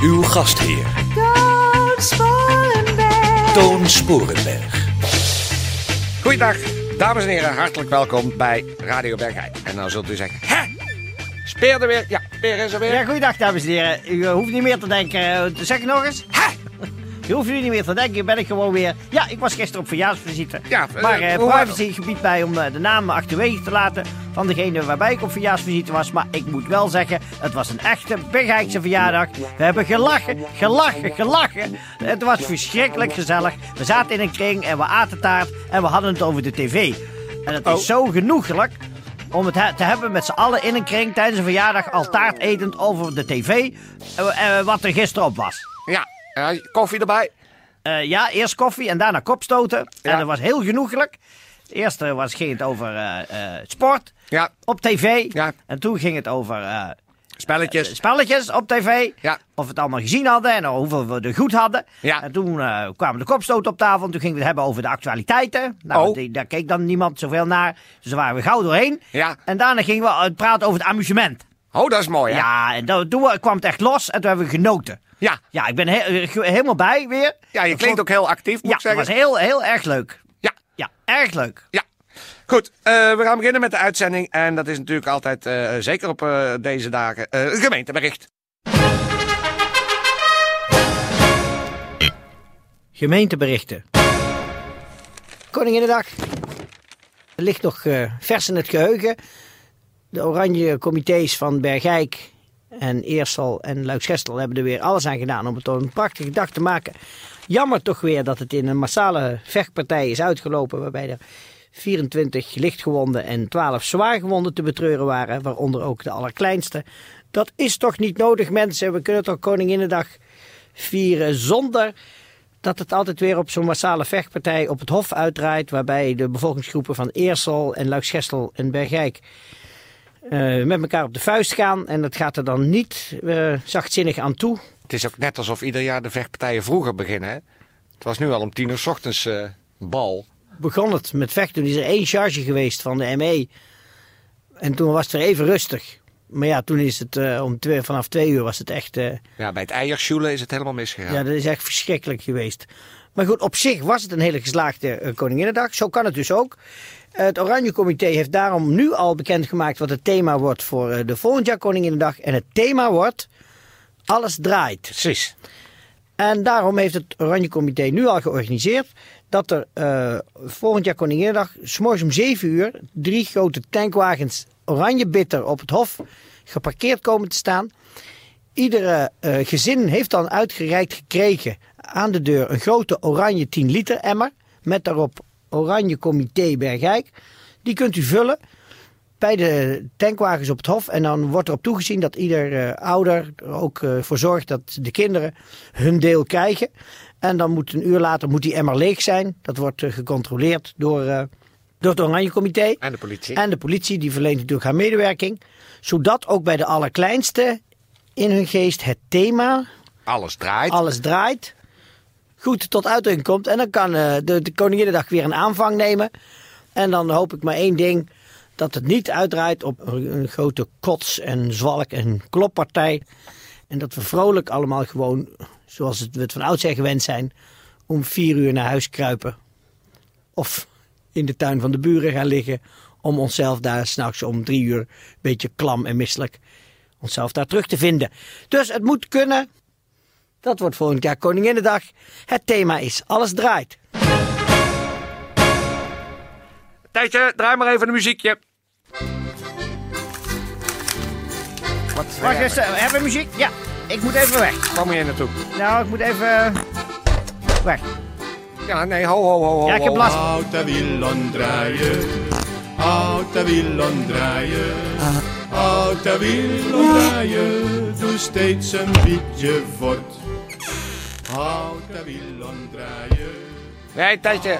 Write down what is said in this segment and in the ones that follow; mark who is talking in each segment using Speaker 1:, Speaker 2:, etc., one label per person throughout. Speaker 1: Uw gastheer
Speaker 2: Toon Sporenberg.
Speaker 1: Toon Sporenberg.
Speaker 3: Goeiedag, dames en heren, hartelijk welkom bij Radio Bergijk. En dan zult u zeggen, hè? Speer er weer? Ja, Speer is er weer.
Speaker 4: Ja, goeiedag dames en heren. U eh, hoeft niet meer te denken. Eh, Zeg het nog eens.
Speaker 3: Hè?
Speaker 4: U hoeft nu niet meer te denken. Ben ik gewoon weer. Ja, ik was gisteren op verjaarsvisite.
Speaker 3: Ja,
Speaker 4: maar
Speaker 3: eh,
Speaker 4: eh
Speaker 3: hoe-
Speaker 4: privacy gebiedt mij om eh, de namen achterwege te laten van degene waarbij ik op verjaarsvisite was. Maar ik moet wel zeggen, het was een echte Bergijkse verjaardag. We hebben gelachen, gelachen, gelachen. Het was verschrikkelijk gezellig. We zaten in een kring en we aten taart en we hadden het over de tv. En
Speaker 3: Oh.
Speaker 4: het is zo genoegelijk om het he- te hebben met z'n allen in een kring tijdens een verjaardag al taart etend over de tv. eh, eh, wat er gisteren op was.
Speaker 3: Ja, eh, koffie erbij.
Speaker 4: Eh, ja, eerst koffie en daarna kopstoten.
Speaker 3: Ja.
Speaker 4: En dat was heel genoeglijk. Eerst eh, was, ging het over eh, eh, sport
Speaker 3: Ja,
Speaker 4: op tv.
Speaker 3: Ja.
Speaker 4: En toen ging het over eh,
Speaker 3: spelletjes.
Speaker 4: spelletjes op tv.
Speaker 3: Ja.
Speaker 4: Of we het allemaal gezien hadden en hoeveel we er goed hadden.
Speaker 3: Ja.
Speaker 4: En toen eh, kwamen de kopstoten op tafel. En toen gingen we het hebben over de actualiteiten. Nou,
Speaker 3: Oh.
Speaker 4: die- daar keek dan niemand zoveel naar. Dus daar waren we gauw doorheen.
Speaker 3: Ja.
Speaker 4: En daarna gingen we eh, praten over het amusement.
Speaker 3: Oh, dat is mooi,
Speaker 4: Ja,
Speaker 3: hè?
Speaker 4: en dat- toen eh, kwam het echt los. En toen hebben we genoten.
Speaker 3: Ja,
Speaker 4: Ja, ik ben he- eh, helemaal bij weer.
Speaker 3: ja je
Speaker 4: Ik
Speaker 3: klinkt
Speaker 4: vond-
Speaker 3: ook heel actief, moet
Speaker 4: ja,
Speaker 3: ik zeggen.
Speaker 4: het was heel, heel erg leuk.
Speaker 3: Ja,
Speaker 4: Ja, erg leuk.
Speaker 3: ja. Goed, eh, we gaan beginnen met de uitzending. En dat is natuurlijk altijd, eh, zeker op eh, deze dagen, eh, een gemeentebericht.
Speaker 4: Gemeenteberichten. Koninginnedag. Er ligt nog eh, vers in het geheugen. De oranje comité's van Bergijk en Eersel en Luiksgestel hebben er weer alles aan gedaan om het tot een prachtige dag te maken. Jammer toch weer dat het in een massale vechtpartij is uitgelopen waarbij er 24 lichtgewonden en 12 zwaargewonden te betreuren waren, waaronder ook de allerkleinste. Dat is toch niet nodig mensen, we kunnen toch Koninginnedag vieren zonder dat het altijd weer op zo'n massale vechtpartij op het Hof uitdraait. Waarbij de bevolkingsgroepen van Eersel en Luiksgestel en Bergijk eh, met elkaar op de vuist gaan. En dat gaat er dan niet eh, zachtzinnig aan toe.
Speaker 3: Het is ook net alsof ieder jaar de vechtpartijen vroeger beginnen, hè? Het was nu al om tien uur 's ochtends eh, bal.
Speaker 4: Begon het met vechten. Toen is er één charge geweest van de ME. En toen was het weer even rustig. Maar ja, toen is het eh, om twee, vanaf twee uur was het echt. eh,
Speaker 3: Ja, bij het eiersjoelen is het helemaal misgegaan.
Speaker 4: Ja, dat is echt verschrikkelijk geweest. Maar goed, op zich was het een hele geslaagde eh, Koninginnedag. Zo kan het dus ook. Eh, Het Oranje Comité heeft daarom nu al bekendgemaakt wat het thema wordt voor eh, de volgend jaar Koninginnedag. En het thema wordt Alles draait.
Speaker 3: Precies.
Speaker 4: En daarom heeft het Oranje Comité nu al georganiseerd dat er eh, volgend jaar Koninginnedag, s'morgens om 7 uur, drie grote tankwagens Oranje Bitter op het Hof geparkeerd komen te staan. Iedere eh, gezin heeft dan uitgereikt gekregen aan de deur een grote oranje 10 liter emmer met daarop Oranje Comité Bergijk. Die kunt u vullen bij de tankwagens op het hof. En dan wordt erop toegezien dat ieder eh, ouder er ook eh, voor zorgt dat de kinderen hun deel krijgen. En dan moet een uur later moet die emmer leeg zijn. Dat wordt eh, gecontroleerd door, eh, door het Oranje Comité.
Speaker 3: En de politie.
Speaker 4: En de politie die verleent natuurlijk haar medewerking. Zodat ook bij de allerkleinste in hun geest het thema
Speaker 3: Alles draait.
Speaker 4: alles draait. Goed tot uitdrukking komt. En dan kan eh, de, de Koninginnedag weer een aanvang nemen. En dan hoop ik maar één ding. Dat het niet uitdraait op een een grote kots- en zwalk- en kloppartij. En dat we vrolijk allemaal gewoon, zoals het- we het van oudsher gewend zijn, om vier uur naar huis kruipen. Of in de tuin van de buren gaan liggen. Om onszelf daar s'nachts om drie uur een beetje klam en misselijk onszelf daar terug te vinden. Dus het moet kunnen. Dat wordt volgend jaar Koninginnedag. Het thema is Alles draait.
Speaker 3: Tijdje, draai maar even een muziekje. Wat
Speaker 4: Wacht
Speaker 3: ja,
Speaker 4: eens, eh, hebben we muziek? Ja, ik moet even weg.
Speaker 3: Waar moet je naartoe?
Speaker 4: Nou, ik moet even... Weg.
Speaker 3: Ja, nee, ho, ho, ho, ho.
Speaker 4: Ja, ik heb
Speaker 3: ho.
Speaker 4: last.
Speaker 5: Houd de wiel aan draaien, houd de wiel aan draaien. Houd de wiel op draaien, doe steeds een beetje voort. Houd de wiel om draaien.
Speaker 3: Nee, Tijdje,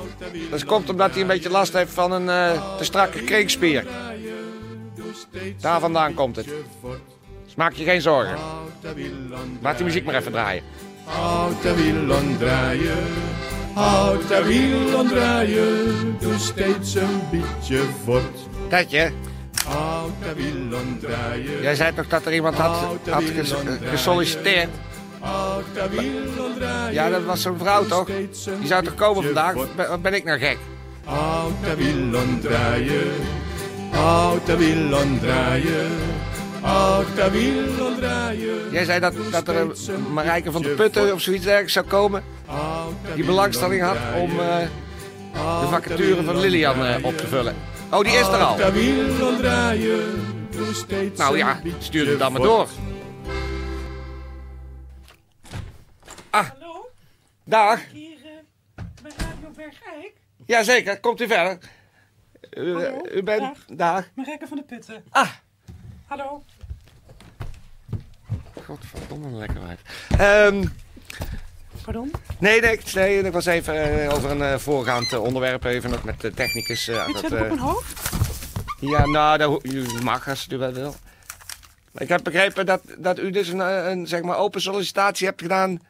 Speaker 3: dat komt omdat hij een beetje last heeft van een eh, te strakke kreekspier. Daar vandaan komt het. Dus maak je geen zorgen.
Speaker 5: Houd de wiel om
Speaker 3: Laat die muziek maar even draaien.
Speaker 5: Houd de wiel om draaien. Houd de wiel om draaien, doe steeds een beetje voort.
Speaker 3: Tijdje,
Speaker 5: Houd de wiel om draaien.
Speaker 3: jij zei toch dat er iemand had, had ges- eh, gesolliciteerd?
Speaker 5: Houd de wiel om draaien.
Speaker 3: Ja, dat was zo'n vrouw toch? Die zou toch komen vandaag? Wat ben- Wat ben ik nou gek?
Speaker 5: Houd de wiel om draaien, houd de wiel om draaien, houd de wiel om draaien.
Speaker 3: Jij zei dat, dat er een Marijke van de Putten of zoiets ergens zou komen. Die belangstelling had om eh, de vacature van Lilian eh, op te vullen. Oh, die is er al.
Speaker 5: De wiel om draaien, doe steeds
Speaker 3: Nou ja,
Speaker 5: een beetje
Speaker 3: stuur hem dan maar
Speaker 5: voort.
Speaker 3: door. Ah, dag.
Speaker 6: hier eh, bij Radio Bergijk.
Speaker 3: Jazeker, komt u verder. U, eh,
Speaker 6: Hallo,
Speaker 3: u bent...
Speaker 6: dag.
Speaker 3: Dag.
Speaker 6: Marijke van de Putten.
Speaker 3: Ah.
Speaker 6: Hallo.
Speaker 3: Godverdomme, een lekker wijf. Ehm,
Speaker 6: Pardon?
Speaker 3: nee, nee, ik- nee, ik was even eh, over een eh, voorgaand eh, onderwerp. Even nog met de technicus. eh, aan
Speaker 6: Dit
Speaker 3: het,
Speaker 6: zet ik op
Speaker 3: eh,
Speaker 6: mijn hoofd.
Speaker 3: Ja, nou, dat ho- u mag als u wel wil. Maar ik heb begrepen dat, dat u dus een, eh, een zeg maar open sollicitatie hebt gedaan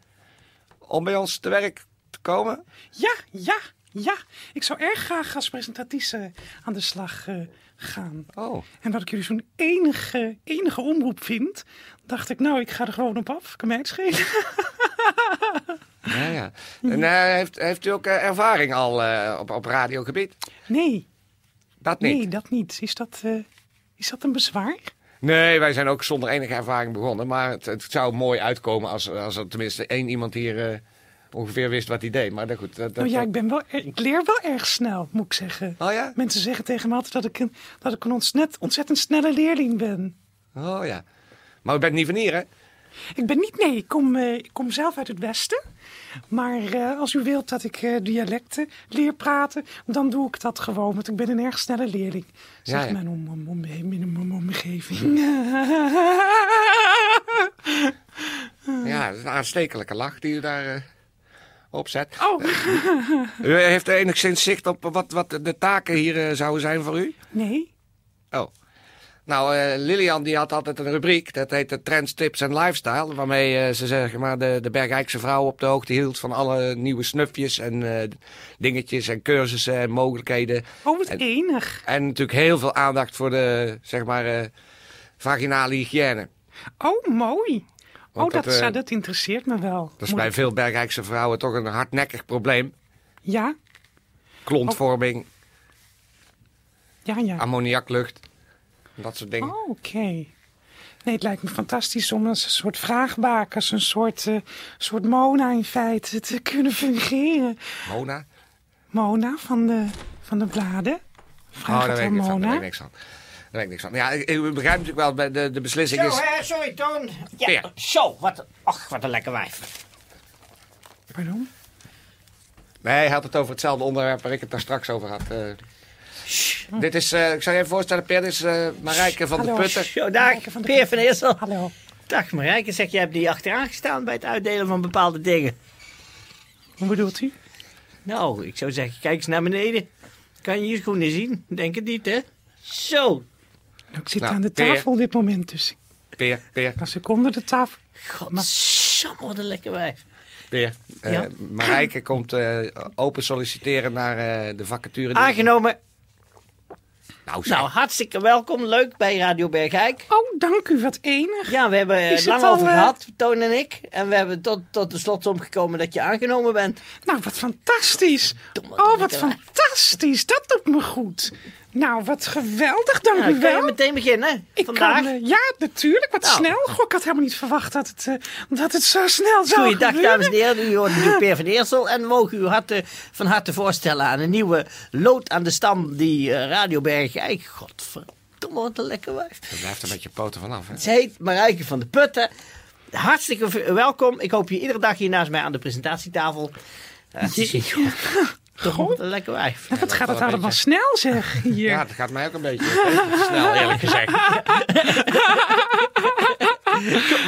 Speaker 3: om bij ons te werk te komen.
Speaker 6: Ja, ja, ja. Ik zou erg graag als presentatrice aan de slag eh, gaan.
Speaker 3: Oh.
Speaker 6: En wat ik jullie zo'n enige, enige omroep vind, dacht ik, nou, ik ga er gewoon op af. Kan mij het schelen.
Speaker 3: Ja, ja.
Speaker 6: Mhm.
Speaker 3: En eh, heeft, heeft u ook eh, ervaring al eh, op, op radiogebied?
Speaker 6: Nee,
Speaker 3: Dat niet.
Speaker 6: nee, dat niet. Is dat, eh, is dat een bezwaar?
Speaker 3: Nee, wij zijn ook zonder enige ervaring begonnen. Maar het, het zou mooi uitkomen als, als er tenminste één iemand hier eh, ongeveer wist wat hij deed. Maar dat, goed, dat, dat,
Speaker 6: Nou ja, ik, ben wel, er- ik leer wel erg snel, moet ik zeggen.
Speaker 3: Oh ja?
Speaker 6: Mensen zeggen tegen me altijd dat ik een, dat ik een ontsnet- ontzettend snelle leerling ben.
Speaker 3: Oh ja. Maar u bent niet van hier, hè?
Speaker 6: Ik ben niet, nee, ik kom, eh, ik kom zelf uit het Westen. Maar eh, als u wilt dat ik eh, dialecten leer praten, dan doe ik dat gewoon. Want ik ben een erg snelle leerling, zegt
Speaker 3: ja. Hm.
Speaker 6: men om, om, om, om, om- omgeving.
Speaker 3: Ja, dat is een aanstekelijke lach die u daar eh, op zet.
Speaker 6: oh,
Speaker 3: U heeft enigszins zicht op wat, wat de taken hier eh, zouden zijn voor u?
Speaker 6: nee.
Speaker 3: Oh. Nou, eh, Lilian die had altijd een rubriek, dat heette Trends, Tips en Lifestyle. Waarmee eh, ze zeg maar, de, de Bergijkse vrouw op de hoogte hield van alle nieuwe snufjes en eh, dingetjes en cursussen en mogelijkheden.
Speaker 6: Oh, wat
Speaker 3: En-
Speaker 6: enig.
Speaker 3: En natuurlijk heel veel aandacht voor de, zeg maar, eh, vaginale hygiëne.
Speaker 6: Oh, mooi.
Speaker 3: Want
Speaker 6: oh, dat,
Speaker 3: dat, eh,
Speaker 6: ja, dat interesseert me wel.
Speaker 3: Dat is
Speaker 6: Moet
Speaker 3: bij
Speaker 6: ik-
Speaker 3: veel Bergijkse vrouwen toch een hardnekkig probleem.
Speaker 6: Ja,
Speaker 3: Klontvorming,
Speaker 6: ja, ja.
Speaker 3: ammoniaklucht, dat soort dingen.
Speaker 6: Oh, Oké. Nee, het lijkt me fantastisch om als een soort vraagbakers, een soort, eh, soort Mona in feite, te kunnen fungeren.
Speaker 3: Mona?
Speaker 6: Mona van de, van de bladen. Vraag
Speaker 3: Oh, daar
Speaker 6: het
Speaker 3: weet ik
Speaker 6: aan
Speaker 3: niks van. Daar
Speaker 6: Mona.
Speaker 3: weet ik niks van. Daar weet ik niks van. Ja, ik, ik begrijp natuurlijk wel, bij de, de beslissing
Speaker 4: Zo,
Speaker 3: is...
Speaker 4: hè, sorry Toon. Ja,
Speaker 3: Ja.
Speaker 4: zo, wat een, ach, wat een lekker wijf.
Speaker 6: Pardon?
Speaker 3: Nee, hij had het over hetzelfde onderwerp waar ik het daar straks over had. eh. dit is, eh, ik zal je even voorstellen, Per, dit is eh, Marijke van
Speaker 6: Hallo.
Speaker 3: de Putten.
Speaker 4: Zo,
Speaker 6: Marijke
Speaker 4: dag,
Speaker 6: van de
Speaker 4: Peer van
Speaker 6: Putten.
Speaker 4: Eersel.
Speaker 6: Hallo.
Speaker 4: Dag Marijke, zeg, jij hebt die achteraan gestaan bij het uitdelen van bepaalde dingen.
Speaker 6: Hoe bedoelt u?
Speaker 4: Nou, ik zou zeggen, kijk eens naar beneden. Kan je je schoenen zien? Denk het niet, hè? Zo.
Speaker 6: Nou, ik zit
Speaker 3: Nou,
Speaker 6: aan de
Speaker 3: ben je-
Speaker 6: tafel op dit moment, dus
Speaker 3: Peer, Peer,
Speaker 6: als ik onder de tafel...
Speaker 4: Godsamme, wat een lekker wijf.
Speaker 3: Peer. Eh,
Speaker 4: Ja.
Speaker 3: Marijke komt eh, open solliciteren naar eh, de vacature. die-
Speaker 4: Aangenomen.
Speaker 3: Nou, zeg.
Speaker 4: Nou, hartstikke welkom. Leuk bij Radio Bergijk.
Speaker 6: Oh, dank u, wat enig.
Speaker 4: Ja, we hebben
Speaker 6: Is
Speaker 4: het
Speaker 6: het
Speaker 4: lang
Speaker 6: al,
Speaker 4: over
Speaker 6: eh,
Speaker 4: gehad, Toon en ik. En we hebben tot, tot de slotsom gekomen dat je aangenomen bent.
Speaker 6: Nou, wat fantastisch.
Speaker 4: Domme, domme,
Speaker 6: Oh, wat
Speaker 4: domme.
Speaker 6: fantastisch. Dat doet me goed. Nou, wat geweldig, dank
Speaker 4: Nou,
Speaker 6: u
Speaker 4: dan kan je
Speaker 6: wel.
Speaker 4: meteen beginnen.
Speaker 6: Ik
Speaker 4: Vandaag.
Speaker 6: kan, eh, ja, natuurlijk. Wat
Speaker 4: Nou.
Speaker 6: snel. Goh, ik had helemaal niet verwacht dat het, eh, dat het zo snel zou
Speaker 4: Goeiedag,
Speaker 6: gebeuren.
Speaker 4: dames en heren. U hoort nu Peer van Eersel. En we mogen u harte, van harte voorstellen aan een nieuwe lood aan de stam die eh, Radio Bergijk. Godverdomme, wat een lekker wijf.
Speaker 3: Dat blijft er met je poten vanaf, hè?
Speaker 4: Ze heet Marijke van de Putten. Hartstikke v- welkom. Ik hoop je iedere dag hier naast mij aan de presentatietafel. Eh, het is- Toch
Speaker 6: Goh.
Speaker 4: wat een lekker wijf.
Speaker 6: Het gaat
Speaker 3: wel
Speaker 6: het
Speaker 3: een
Speaker 6: allemaal
Speaker 3: beetje.
Speaker 6: snel zeg hier.
Speaker 3: Ja, dat gaat mij ook een beetje snel, eerlijk gezegd.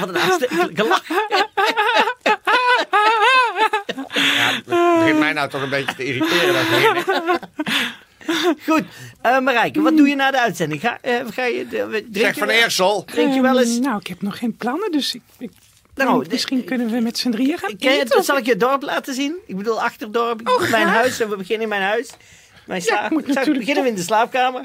Speaker 4: Wat een aanstekelijke lach.
Speaker 3: Ja, het begint mij nou toch een beetje te irriteren. Dat ik-
Speaker 4: Goed, Eh Marijke, wat doe je na de uitzending? Ga, eh, ga je, eh, drink
Speaker 3: zeg
Speaker 4: je
Speaker 3: van
Speaker 4: wel-
Speaker 3: Eersel.
Speaker 4: Drink je wel eens...
Speaker 6: Nou, ik heb nog geen plannen, dus ik, ik
Speaker 4: Nou,
Speaker 6: denk,
Speaker 4: de-
Speaker 6: misschien kunnen we met z'n drieën gaan
Speaker 4: Ken je
Speaker 6: eten,
Speaker 4: het,
Speaker 6: of-
Speaker 4: zal ik je het dorp laten zien? Ik bedoel, Achterdorp, ik bedoel mijn huis. en We beginnen in mijn huis. Mijn sla-
Speaker 6: ik moet
Speaker 4: Zou-
Speaker 6: natuurlijk
Speaker 4: beginnen we in de slaapkamer.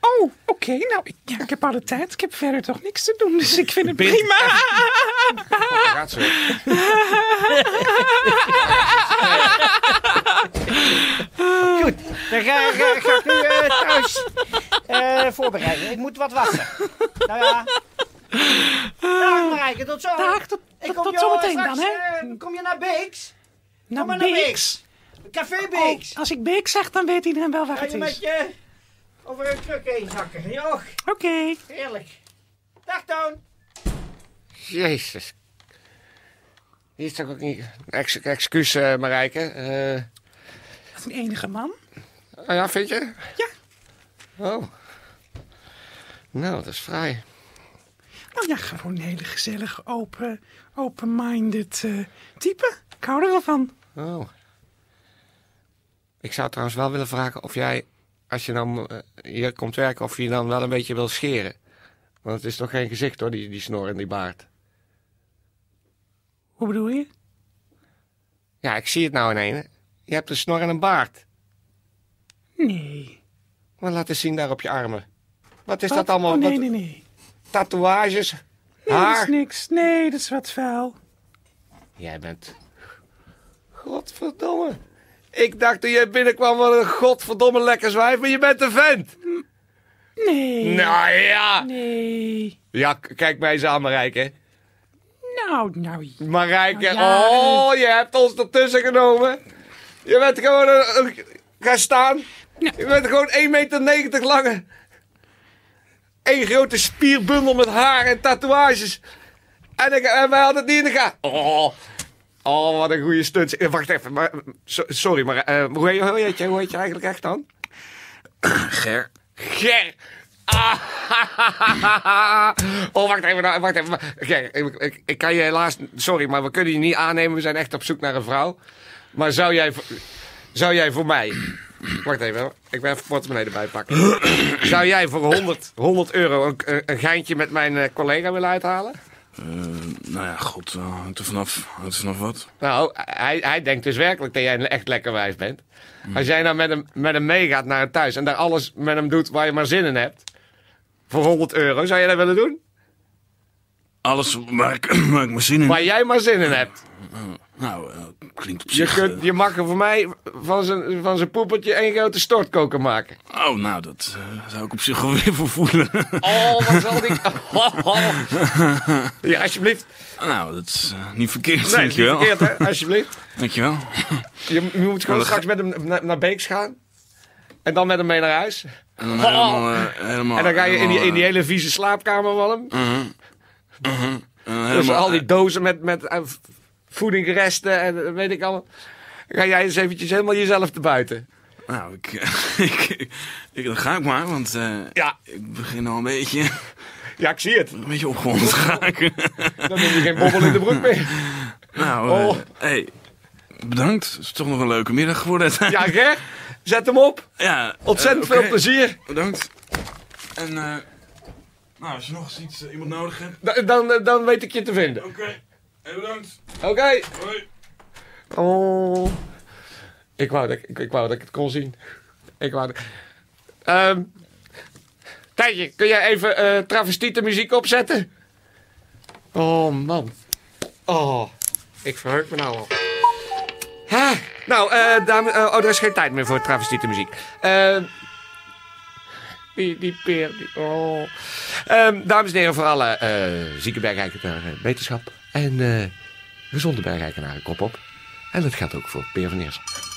Speaker 6: Oh, oké. Nou, ik, ja, ik heb alle tijd. Ik heb verder toch niks te doen, dus ik vind het prima.
Speaker 3: Oh, Daar gaat ze weer.
Speaker 4: Goed, dan ga, ga, ga ik nu eh, thuis eh, voorbereiden. Ik moet wat wassen. Nou ja. Dag Marijke, tot zo.
Speaker 6: Dag, tot-
Speaker 4: Ik
Speaker 6: tot-
Speaker 4: kom
Speaker 6: tot
Speaker 4: je
Speaker 6: zometeen
Speaker 4: straks,
Speaker 6: dan, hè?
Speaker 4: eh, kom je naar Beeks?
Speaker 6: Nou,
Speaker 4: maar naar
Speaker 6: Beeks.
Speaker 4: Café
Speaker 6: Oh,
Speaker 4: Beeks.
Speaker 6: als ik Beek zeg, dan weet iedereen wel waar
Speaker 4: Ga
Speaker 6: het
Speaker 4: je met
Speaker 6: is.
Speaker 4: je over een kruk heen zakken. Joch,
Speaker 6: Oké.
Speaker 4: heerlijk. Dag Toon.
Speaker 3: Jezus. Hier is toch ook niet... Ex, excuus, eh, Marijke. Eh,
Speaker 6: Wat een enige man.
Speaker 3: oh ja, vind je?
Speaker 6: Ja.
Speaker 3: Oh. Nou, dat is fraai.
Speaker 6: Nou ja, gewoon een hele gezellige, open, open-minded eh, type. Ik hou er wel van.
Speaker 3: Oh. Ik zou trouwens wel willen vragen of jij, als je nou eh, hier komt werken, of je dan wel een beetje wil scheren. Want het is toch geen gezicht hoor, die, die snor en die baard.
Speaker 6: Hoe bedoel je?
Speaker 3: Ja, ik zie het nou in één. Je hebt een snor en een baard.
Speaker 6: Nee.
Speaker 3: Maar laat eens zien daar op je armen. Wat is
Speaker 6: Wat?
Speaker 3: dat allemaal?
Speaker 6: Oh, nee,
Speaker 3: Wat-
Speaker 6: nee, nee.
Speaker 3: Tatoeages?
Speaker 6: Nee, dat is
Speaker 3: haar?
Speaker 6: niks. Nee, dat is wat vuil.
Speaker 3: Jij bent... Godverdomme. Ik dacht toen jij binnenkwam wat een godverdomme lekker zwijf, maar je bent een vent.
Speaker 6: Nee.
Speaker 3: Nou ja.
Speaker 6: Nee.
Speaker 3: Ja, k- kijk mij eens aan, Marijke.
Speaker 6: Nou, nou.
Speaker 3: Marijke,
Speaker 6: Nou ja,
Speaker 3: oh, je hebt ons ertussen genomen. Je bent gewoon een... een- ga staan. Je bent gewoon 1,90 meter lang. Eén grote spierbundel met haar en tatoeages. En, ik, en wij hadden het niet in de gaten. Oh, oh wat een goede stunt. Eh, Wacht even, maar, so- sorry, maar eh, hoe, heet, hoe, heet je, hoe heet je eigenlijk echt dan? Ger. Ger. Ah, oh, wacht even, nou, wacht even. maar- Ger, ik, ik, ik kan je helaas... Sorry, maar we kunnen je niet aannemen. We zijn echt op zoek naar een vrouw. Maar zou jij, voor- zou jij voor mij... Wacht even, hoor. ik ben even portemonnee erbij pakken. Zou jij voor 100, 100 euro een, een- een geintje met mijn eh, collega willen uithalen?
Speaker 7: Nou ja, god, eh, hangt er vanaf. Hangt er vanaf wat?
Speaker 3: Nou, hij, hij denkt dus werkelijk dat jij een echt lekker wijf bent. Als jij nou met hem, met hem meegaat naar het thuis en daar alles met hem doet waar je maar zin in hebt. Voor 100 euro, zou jij dat willen doen?
Speaker 7: Alles waar ik, waar ik mijn zin in...
Speaker 3: Waar jij maar zin in hebt.
Speaker 7: Nou, eh, klinkt op
Speaker 3: Je,
Speaker 7: zich...
Speaker 3: kunt,
Speaker 7: eh,
Speaker 3: je mag er voor mij van zijn, van zijn poepertje één grote stortkoker maken.
Speaker 7: Oh, nou, dat eh, zou ik op zich wel weer voor voelen.
Speaker 3: Oh, wat zal die... Ja, alsjeblieft.
Speaker 7: nou, dat is eh, niet verkeerd,
Speaker 3: Nee, niet
Speaker 7: dankjewel.
Speaker 3: verkeerd, hè? Alsjeblieft.
Speaker 7: Dankjewel.
Speaker 3: Je, je moet gewoon
Speaker 7: dat
Speaker 3: straks met hem naar, naar Beeks gaan. En dan met hem mee naar huis.
Speaker 7: En dan
Speaker 3: Oh.
Speaker 7: helemaal, eh, helemaal...
Speaker 3: En dan ga je in die, in die
Speaker 7: helemaal,
Speaker 3: hele vieze slaapkamer van hem.
Speaker 7: eh, en dan
Speaker 3: Dus
Speaker 7: helemaal,
Speaker 3: al die
Speaker 7: eh,
Speaker 3: dozen met, met eh, v- voedingresten en eh, weet ik allemaal. Ga jij eens eventjes helemaal jezelf te buiten.
Speaker 7: nou, ik, ik, ik... Dan ga ik maar, want eh,
Speaker 3: Ja.
Speaker 7: ik begin al een beetje,
Speaker 3: Ja, ik zie het.
Speaker 7: een beetje opgewonden te raken.
Speaker 3: Dan heb je geen bobbel in de broek meer.
Speaker 7: nou,
Speaker 3: Oh.
Speaker 7: eh, hey, bedankt. Het is toch nog een leuke middag geworden.
Speaker 3: Ja, Ger, zet hem op.
Speaker 7: ja eh,
Speaker 3: Ontzettend
Speaker 7: oké.
Speaker 3: veel plezier.
Speaker 7: Bedankt. En eh, nou, als je nog eens iets, eh, iemand nodig hebt.
Speaker 3: Dan, dan, eh, dan weet ik je te vinden.
Speaker 7: Oké. Hey, bedankt.
Speaker 3: Oké.
Speaker 7: Hoi.
Speaker 3: Oh. Ik wou, dat, ik, ik wou dat ik het kon zien. Ik wou dat... Ehm, Tijtje, kun jij even eh travestiete muziek opzetten? Oh, man. Oh, ik verheug me nou al. Ha, nou, eh dame, eh, oh, er is geen tijd meer voor travestiete muziek. Ehm, die, die peer, die... Oh. Ehm, dames en heren, voor alle eh zieke bergrijkenaren, wetenschap en eh, gezonde bergrijkenaren, kop op. En dat geldt ook voor Peer van Eersel.